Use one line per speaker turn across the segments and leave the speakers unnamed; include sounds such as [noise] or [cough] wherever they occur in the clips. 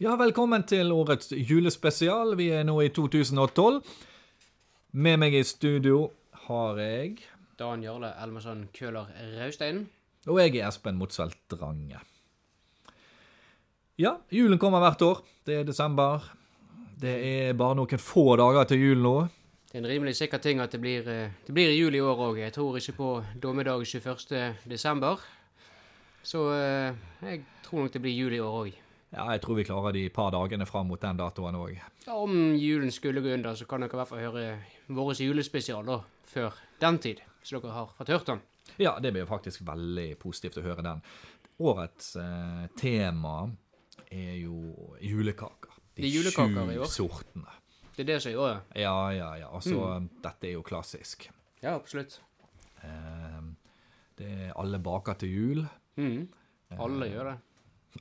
Ja, velkommen til årets julespesial. Vi er nå i 2012. Med meg i studio har jeg
Dan Jarle Elmarsson Køhler Raustein.
Og jeg er Espen Motsvelt Drange. Ja, julen kommer hvert år. Det er desember. Det er bare noen få dager til jul nå.
Det er en rimelig sikker ting at det blir, eh, det blir jul i år òg. Jeg tror ikke på dommedag 21. desember. Så eh, jeg tror nok det blir jul i år òg.
Ja, jeg tror vi klarer de par dagene fram mot den datoen òg.
Om julen skulle gå under, så kan dere i hvert fall høre vår julespesial da, før den tid. Så dere har fått hørt den.
Ja, det blir jo faktisk veldig positivt å høre den. Årets eh, tema er jo julekaker.
Det er julekaker i år.
sju sortene.
Det er det som er i år, ja.
Ja, ja, ja. Altså,
Mm.
dette er jo klassisk.
Ja, absolutt.
Eh, det er alle baker til jul. Ehm,
Mm. Alle gjør det. Mm.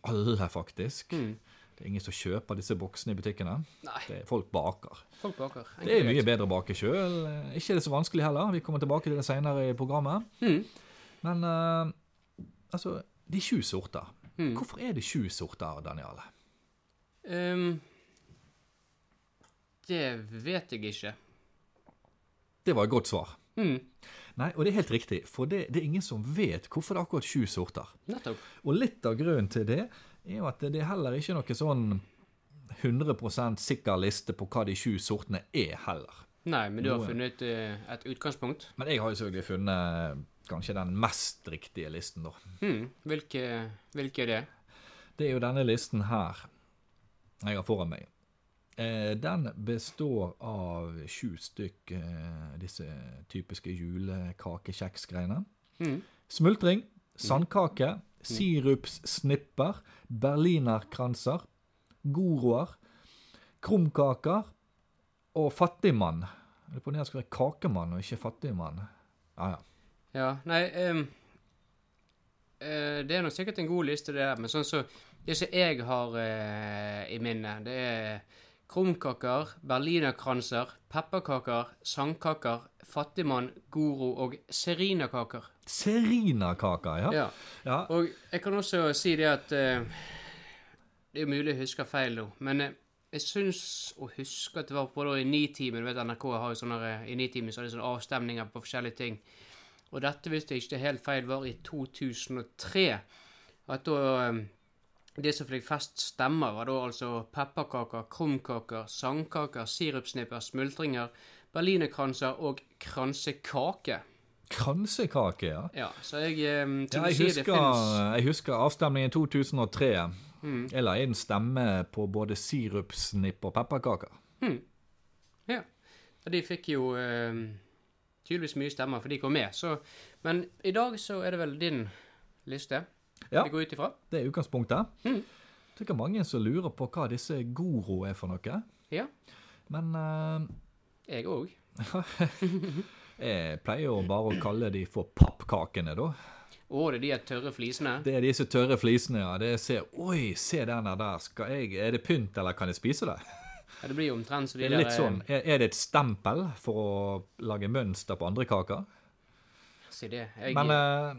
Alle, faktisk. Det er ingen som kjøper disse boksene i butikkene.
Nei.
Det er folk baker.
Folk baker.
Det er
Enkelt.
mye bedre å bake sjøl. Ikke er det så vanskelig heller. Vi kommer tilbake til det seinere i programmet.
Mm.
Men eh, altså, de sju sorter.
Mm.
Hvorfor er det sju sorter, Daniel?
Ehm, det vet jeg ikke.
Det var et godt svar.
Mm.
Nei, og det er helt riktig, for det, det er ingen som vet hvorfor det er akkurat sju sorter.
Nettopp.
Og litt av grunnen til det er jo at det er heller ikke noe sånn 100 sikker liste på hva de sju sortene er heller.
Nei, men du har
Noe.
funnet eh, et utgangspunkt.
Men jeg har jo selvfølgelig funnet kanskje den mest riktige listen, da.
Hmm, Hvilke, hvilke er det?
Det er jo denne listen her jeg har foran meg. Eh, Den består av sju stykk eh, disse typiske julekakekjeksgreiene.
Hmm,
Smultring, sandkake, sirupssnipper, berlinerkranser, goroer, krumkaker og fattigmann. Jeg lurer på om det her skal være kakemann og ikke fattigmann. Ja, ja.
Ja, nei ehm, eh, Det er nok sikkert en god liste, det der, men sånn så Det som jeg har eh, i minnet, det er krumkaker, berlinerkranser, pepperkaker, sandkaker, fattigmann, goro og serinakaker.
Serinakaker, ja.
Ja.
Ja.
Og jeg kan også si det at eh, Det er mulig jeg husker feil nå, men eh, jeg syns å huske at det var på da i Nitimen. Du vet NRK har jo sånne eh, i Nitimen så har de sånne avstemninger på forskjellige ting. Og dette, hvis jeg ikke er helt feil, var i 2003. At da eh, Det som fikk flest stemmer, var da altså pepperkaker, krumkaker, sandkaker, sirupsnipper, smultringer, berlinerkranser og kransekake.
Kransekake, ja.
Ja, så jeg eh,
Ja,
til å
jeg
si det
husker,
finnes- Mm.
jeg husker avstemningen i 2003. Jeg la inn stemme på både sirupsnipp og pepperkaker.
Ja. Og de fikk jo eh, tydeligvis mye stemmer, for de kom med. Så, men i dag så er det vel din liste
Ja.
vi går ut ifra?
Det er utgangspunktet.
Mm.
Det er ikke mange som lurer på hva disse goro er for noe.
Ja.
Men eh,
Jeg òg.
Jeg pleier jo bare å kalle de for pappkakene, da.
Å, det er de her tørre flisene.
Det er disse tørre flisene, ja. Det ser Oi, se den der der. Skal jeg Er det pynt, eller kan jeg spise det?
Ja, det blir jo omtrent så de
Det er
der
litt sånn. Er, er det et stempel for å lage mønster på andre kaker?
Si det. Jeg,
Men eh,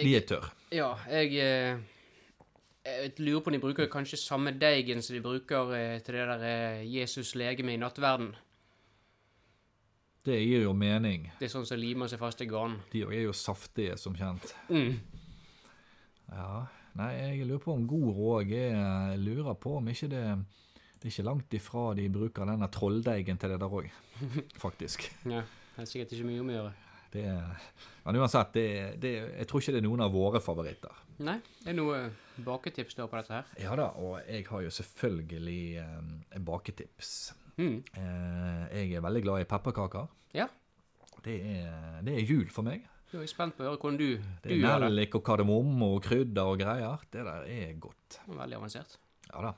de er tørre.
ja, jeg eh, jeg lurer på om de bruker kanskje samme deigen som de bruker eh, til det der eh, Jesus legeme i nattverden.
Det gir jo mening.
Det er sånn som limer seg fast i garn.
De òg er jo saftige, som kjent.
Mm.
Ja. Nei, jeg lurer på om god råd er Jeg lurer på om ikke det Det er ikke langt ifra de bruker denne trolldeigen til det der òg,
[laughs]
faktisk.
Ja, det er sikkert ikke mye om å gjøre.
Det, men uansett, det, det, jeg tror ikke det er noen av våre favoritter.
Nei, det er noe eh, baketips da på dette her.
Ja da, og jeg har jo selvfølgelig eh, baketips.
Mm.
Eh, jeg er veldig glad i pepperkaker.
Ja.
Det er, det er jul for meg.
Nå er jeg spent på å høre hvordan du, du
Det er
gjør det.
nellik og kardemomme og krydder og greier. Det der er godt.
Det var Veldig avansert.
Ja da.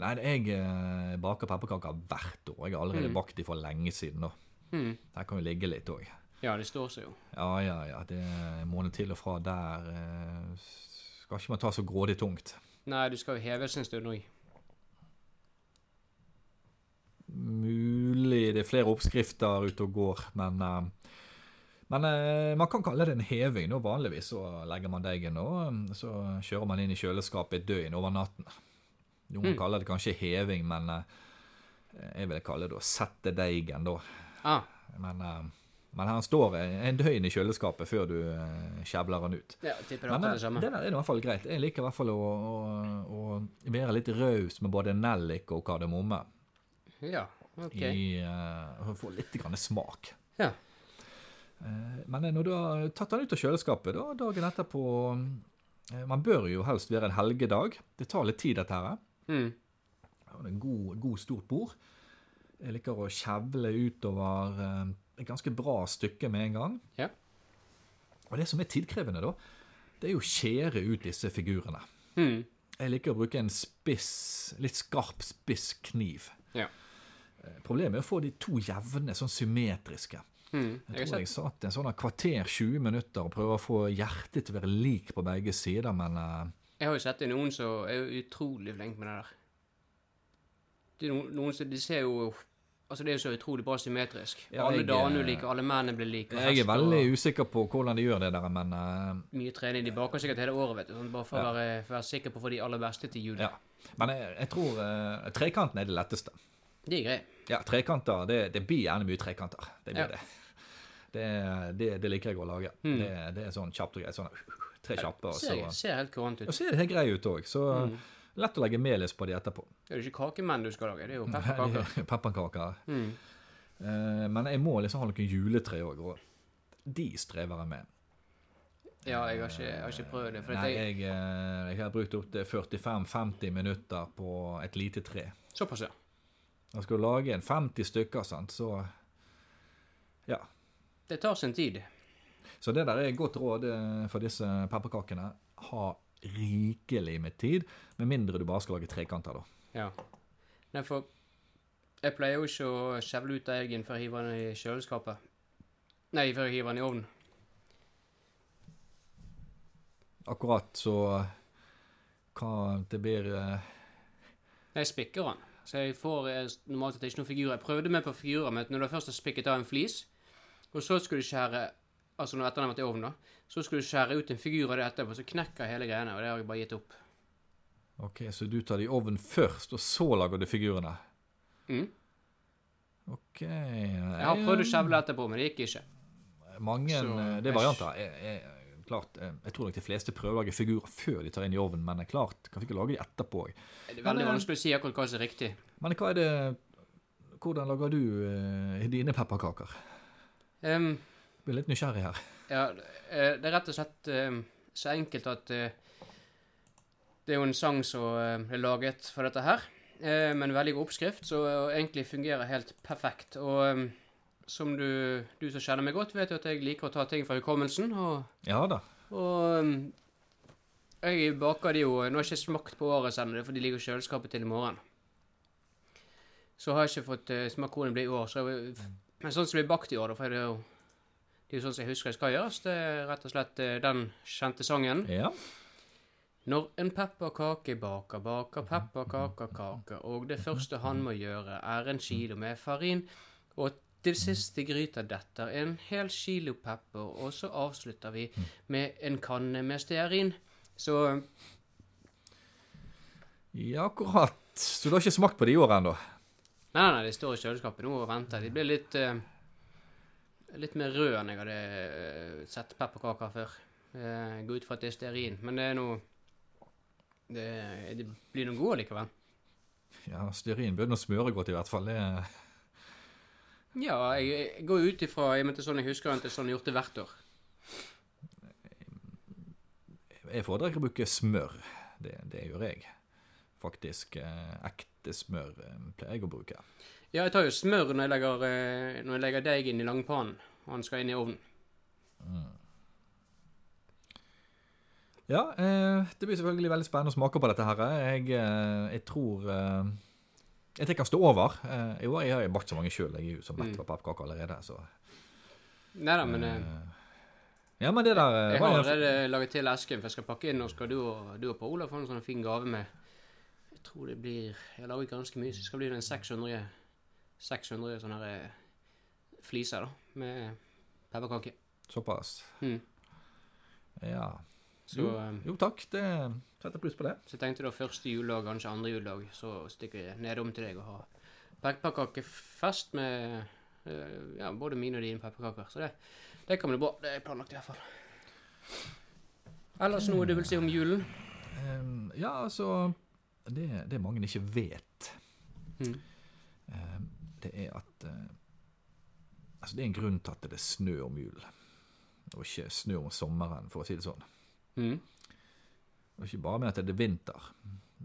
Nei, jeg eh, baker pepperkaker hvert år. Jeg har allerede bakt de for lenge siden. da.
Mm.
Der kan jo ligge litt òg.
Ja, det står seg jo.
Ja, ja, ja. Det er en måned til og fra der. Eh, skal ikke man ta så grådig tungt.
Nei, du skal jo heves en stund òg.
Mulig det er flere oppskrifter ute og går, men eh, Men eh, man kan kalle det en heving. Nå Vanligvis så legger man deigen og eh, så kjører man inn i kjøleskapet et døgn over natten. Noen kaller det kanskje heving, men eh, jeg vil kalle det å sette deigen, da.
Ah,
Men, eh, men her står en en døgn i kjøleskapet før du eh, kjevler den ut.
ja,
Men
tipper det er akkurat det
eh,
samme.
det der er i hvert fall greit. Jeg liker i hvert fall å, å, å være litt raus med både nellik og kardemomme.
Ja, ok.
I, eh, for å få litt grann smak.
Ja.
Eh, Men når du har tatt den ut av kjøleskapet da, dagen etterpå eh, Man bør jo helst være en helgedag. Det tar litt tid, dette her.
Mm.
Og det er en god, god stort bord. Jeg liker å kjevle utover eh, et ganske bra stykke med en gang.
Ja.
Og det som er tidkrevende, da, det er jo å skjære ut disse figurene.
Mm.
Jeg liker å bruke en spiss, litt skarp spiss kniv.
Ja.
Eh, Problemet er å få de to jevne, sånn symmetriske.
Mm. Jeg
Jeg
har
tror jeg
sett.
satt en sånn her kvarter 20 minutter og prøvde å få hjertet til å være lik på begge sider, men eh,
Jeg har jo sett det i noen som er jo utrolig flink med det der. Det er noen, noen som De ser jo Altså, det er jo så utrolig bra symmetrisk.
Ja,
alle
jeg,
damene
eh,
blir like, alle mennene blir like. og
jeg er
hester og
veldig usikker på hvordan de gjør det der, men eh,
Mye trening. De baker sikkert hele året, vet du. Sånn, bare for, å være, for å være sikker på å få de aller beste til jul.
ja. Men jeg, jeg tror eh, trekanten er det letteste.
Det er greit.
Ja, trekanter, det, det blir gjerne mye trekanter. Det
Ja. Hmm.
blir det. Det, det. Det liker jeg å lage. Det, det er sånn kjapt og greit. Sånn, uh, tre kjappe, og så
Ser, ser helt kurant ut.
Og så er det helt grei ut òg, så
Hmm.
lett å legge melis på de etterpå.
Det er jo ikke kakemenn du skal lage, det er jo
[laughs]
pepperkaker.
Pepperkaker.
Mm.
Eh, men jeg må liksom ha noen juletre òg, og de strever jeg med.
Ja, jeg har ikke, jeg har ikke prøvd det. For
Nei,
at jeg,
jeg, eh, jeg har brukt opptil 45-50 minutter på et lite tre.
såpass, ja.
Og skal du lage en 50 stykker, sant, så Ja.
Det tar sin tid.
Så det der er et godt råd eh, for disse pepperkakene. Ha rikelig med tid, med mindre du bare skal lage trekanter, da.
Ja. Nei, for jeg pleier jo ikke å skjevle ut av eggen før jeg hiver den i kjøleskapet. Nei, før jeg hiver den i ovnen.
Akkurat så eh, Hva det blir eh,
Nei, Jeg spikker den. Så jeg får eh, normalt sett ikke noen figurer. Jeg prøvde meg på figurer, men når du først har spikket av en flis, og så skulle du skjære Altså når etter den har vært i ovnen, da. Så skulle du skjære ut en figur av det etterpå, så knekker hele greiene, og det har jeg bare gitt opp.
Ok, så du tar det i ovnen først, og så lager du figurene?
Mm.
Ok Jeg
Jeg har prøvd å skjevle etterpå, men det gikk ikke.
Mange
så-
eh, Det er varianter. Jeg, jeg, klart, eh, jeg tror nok de fleste prøver å lage figurer før de tar inn i ovnen, men eh, klart, kan ikke lage de etterpå òg.
Det er
Men,
veldig
eh,
vanskelig å si akkurat hva som er riktig.
Men eh, hva er det Hvordan lager du eh, dine pepperkaker?
Ehm,
Jeg blir litt nysgjerrig her.
ja, eh, det er rett og slett eh, så enkelt at eh, Det er jo en sang som eh, er laget for dette her, eh, med en veldig god oppskrift, så eh, egentlig fungerer helt perfekt. Og eh, som du, du som kjenner meg godt, vet jo at jeg liker å ta ting fra hukommelsen. og...
Ja da.
Og um, jeg baker de jo Nå har jeg ikke smakt på årets ennå, det er fordi de ligger i kjøleskapet til i morgen. Så har jeg ikke fått uh, smakt hvordan det blir i år. Så jeg, men sånn som det blir bakt i år, da, for det er jo det er jo sånn som jeg husker det skal gjøres. Det er rett og slett eh, den kjente sangen.
Ja.
Når en pepperkake baker, baker pepperkaker kake, og det første han må gjøre, er en kilo med farin, og til siste gryta detter en hel kilo pepper, og så avslutter vi med en kanne med stearin. Så
ja, akkurat. Så du har ikke smakt på de i år ennå?
Nei, nei, nei, de står i kjøleskapet nå og venter. De blir litt eh, litt mer røde enn jeg hadde eh, sett pepperkaker før. Eh, jeg går ut fra at det er stearin, men det er noe det, det blir noe gode likevel.
Ja, stearin bør nå smøre godt, i hvert fall. Det
Ja, jeg, jeg går ut ifra i og med at det er sånn jeg husker at det er sånn jeg har gjort det hvert år.
Jeg foretrekker å bruke smør. Det, det gjør jeg. Faktisk eh, ekte smør eh, pleier jeg å bruke.
Ja, jeg tar jo smør når jeg legger, eh, når jeg legger deig inn i langpannen, og den skal inn i ovnen.
Ja, eh, det blir selvfølgelig veldig spennende å smake på dette her. Jeg, eh, jeg tror eh, Jeg tenker stå over. Eh, jo, jeg har jo bakt så mange sjøl. Jeg er jo så mett på pepperkaker allerede, så
Nei da, Mm. men eh,
Ja, men det der eh,
jeg
var
har
en-
allerede laget til esken, for jeg skal pakke inn, og skal du og, du og Per Olav få en sånn fin gave med Jeg tror det blir Jeg lager ganske mye, så det skal bli en 600 600 sånne her, eh, fliser, da, med pepperkake.
Såpass.
Mm.
Ja.
Så, eh,
Jo takk, det setter pluss på det.
så jeg tenkte da første juledag, kanskje andre juledag, så stikker jeg nedom til deg og har pepperkakefest med eh, ja, både mine og dine pepperkaker. Så det, det kan bli bra. Det er planlagt i hvert fall. Ellers noe du vil si om julen?
Ehm, ja, altså det, det mange ikke vet,
Mhm.
ehm, det er at eh, Altså, det er en grunn til at det er snø om julen, og ikke snø om sommeren, for å si det sånn.
Mhm.
Og ikke bare med at det er vinter,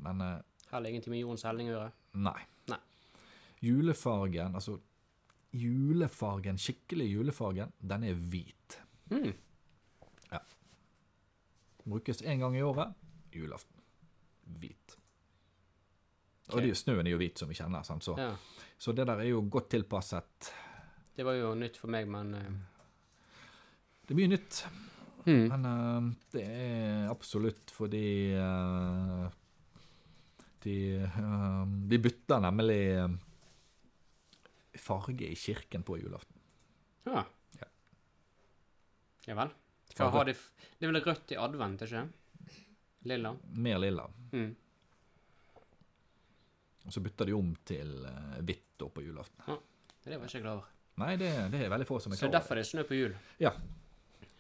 men eh,
Heller ingenting med jordens helning å gjøre.
nei.
Nei.
Julefargen, altså julefargen, skikkelig julefargen, den er hvit.
Mhm.
Brukes én gang i året, julaften. Hvit. Og
Ok.
det er jo snøen er jo hvit, som vi kjenner. Sant? Så,
Ja.
så det der er jo godt tilpasset.
Det var jo nytt for meg, men eh,
Det er mye nytt,
mhm.
men eh, det er absolutt fordi eh, de, eh, de bytter nemlig eh, farge i kirken på julaften.
Ja.
Ja.
Ja vel.
Ja,
Hva har de f Det er vel rødt i advent, ikke sant? Lilla.
Mer lilla.
Mm.
Og så bytter de om til eh, hvitt da på julaften.
Det var jeg ikke klar over.
Nei, det, det er veldig få som er
Så
klar over.
derfor er det snø på jul?
Ja.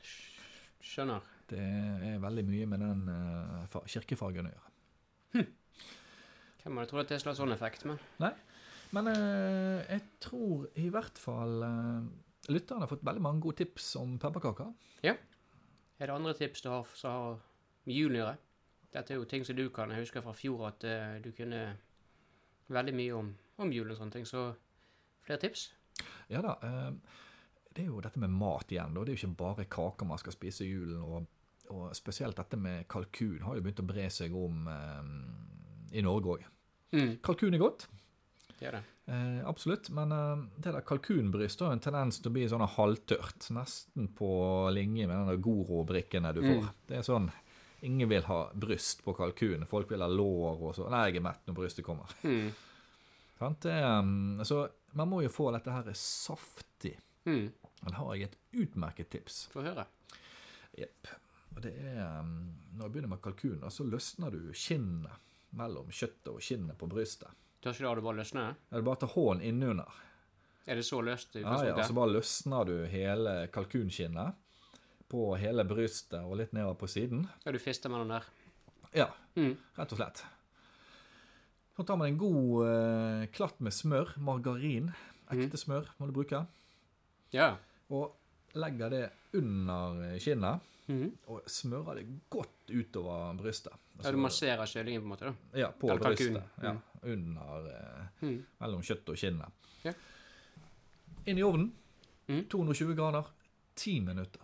Sk- Skjønner.
Det er veldig mye med den eh, fa- kirkefargen å gjøre.
Hvem hadde trodd at det er en slags sånn effekt, men
Men eh, jeg tror i hvert fall eh, lytterne har fått veldig mange gode tips om pepperkaker.
Er det andre tips du har f- som har med julen å gjøre? Dette er jo ting som du kan. Jeg husker fra fjor at eh, du kunne veldig mye om, om julen og sånne ting, så flere tips?
Ja da. eh, det er jo dette med mat igjen, da. Det er jo ikke bare kaker man skal spise i julen. Og, og spesielt dette med kalkun har jo begynt å bre seg om eh, i Norge òg.
Mm.
Kalkun er godt,
Det er det.
eh, absolutt. Men eh, det der kalkunbryst har jo en tendens til å bli sånn halvtørt. Nesten på linje med de Goro-brikkene du får.
Mm.
Det er sånn Ingen vil ha bryst på kalkun. Folk vil ha lår og så. Nei, jeg er mett når brystet kommer.
Mm.
Sant? Det, eh, så man må jo få dette her saftig.
Mm.
Men da har jeg et utmerket tips.
Få høre.
Jepp. Og det er um, Når jeg begynner med kalkun, da, så løsner du skinnet mellom kjøttet og skinnet på brystet.
Tør ikke du ha det bare løsne?
Ja, Du bare tar hånden innunder.
Er det så løst? i
Ah, Ja, altså ja,
utgangspunktet?
så bare løsner du hele kalkunskinnet på hele brystet og litt nedover på siden.
Ja, du fister mellom der.
Ja,
Mm.
rett og slett. Så tar man en god eh, klatt med smør, margarin. Ekte smør må du bruke.
Ja.
Og legger det under skinnet.
Mhm.
og smører det godt utover brystet.
ja, du masserer kyllingen på en måte, da.
ja, på
eller kalkun. Mm.
brystet. Ja, under eh,
Mhm.
Mellom kjøttet og kinnet.
Ja.
Inn i ovnen.
Mhm.
220 grader. 10 minutter.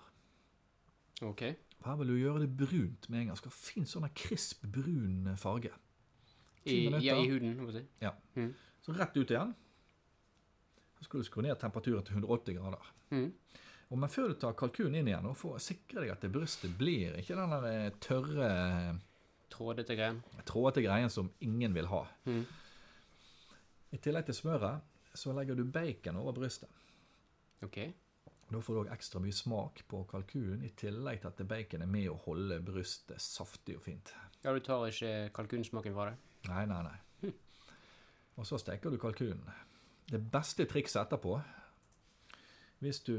OK.
Her vil du gjøre det brunt med en gang. Skal fin sånn her crisp brun eh, farge.
I,
Ti minutter.
ja, i huden, må jeg si.
Så rett ut igjen. Så skal du skru ned temperaturen til 180 grader.
Mhm.
Og men før du tar kalkunen inn igjen, og får sikre deg at det brystet blir ikke den der eh, tørre eh,
Trådete greien.
trådete greien som ingen vil ha.
Mhm.
I tillegg til smøret, så legger du bacon over brystet.
OK.
Da får du òg ekstra mye smak på kalkunen, i tillegg til at bacon er med å holde brystet saftig og fint.
Ja, du tar ikke kalkunsmaken fra det?
Nei, nei, nei. Og så steker du kalkunen. Det beste trikset etterpå Hvis du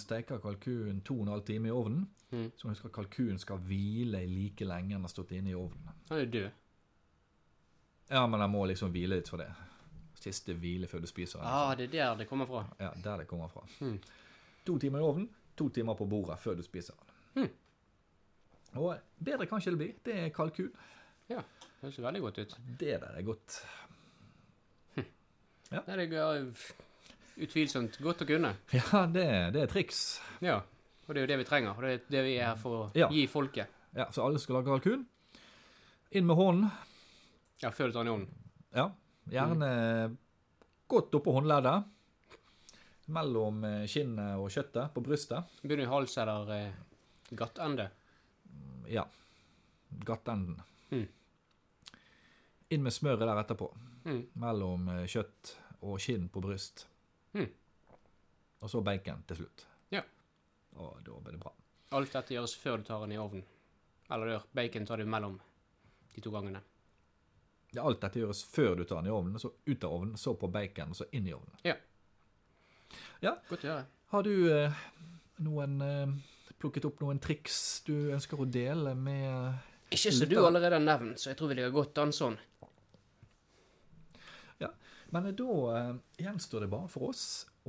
steker kalkunen 2,5 timer i ovnen,
Mhm.
så husk at kalkunen skal hvile like lenge enn den har stått inne i ovnen.
Han er jo død.
Ja, men den må liksom hvile litt for det. Siste hvile før du spiser den. liksom.
Ah, det er der det kommer fra.
Ja, der det kommer fra.
Mm.
To timer i ovnen, to timer på bordet før du spiser den. Og bedre kan ikke det bli. Det er kalkun.
Ja. Det høres jo veldig godt ut.
Det der er godt.
Nei, det er utvilsomt godt å kunne.
Ja, det, det er triks.
Ja. Og det er jo det vi trenger. Og det er det vi er her for å
Ja.
gi folket.
Ja, Så alle skal lage kalkun. Inn med hånden.
Ja, før du tar den i ovnen.
Ja, gjerne godt oppå håndleddet. Mellom eh, skinnet og kjøttet på brystet.
Begynner i hals eller eh, gattende.
Ja. Gattenden.
Mm.
Inn med smøret der etterpå.
Mm.
mellom eh, kjøtt og skinn på bryst.
Mm.
Og så bacon til slutt.
Ja.
Og da blir det bra.
Alt dette gjøres før du tar den i ovnen. Eller rør. Bacon tar du mellom de to gangene.
Ja, alt dette gjøres før du tar den i ovnen, så ut av ovnen, så på bacon, og så inn i ovnen.
Godt å gjøre.
Har du eh, noen eh, plukket opp noen triks du ønsker å dele med eh,
Ikke som du allerede har nevnt, så jeg tror vi ligger godt an sånn.
Men da eh, gjenstår det bare for oss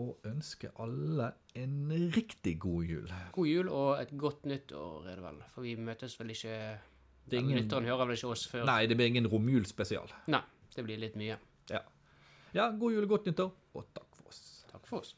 å ønske alle en riktig god jul.
God jul og et godt nytt år, er det vel. For vi møtes vel ikke
Det er
eller
ingen-
Lytteren hører vel ikke oss før Nei.
Nei, det blir ingen romjulspesial.
Det blir litt mye.
Ja. ja, god jul, godt nyttår, og takk for oss.
Takk for oss.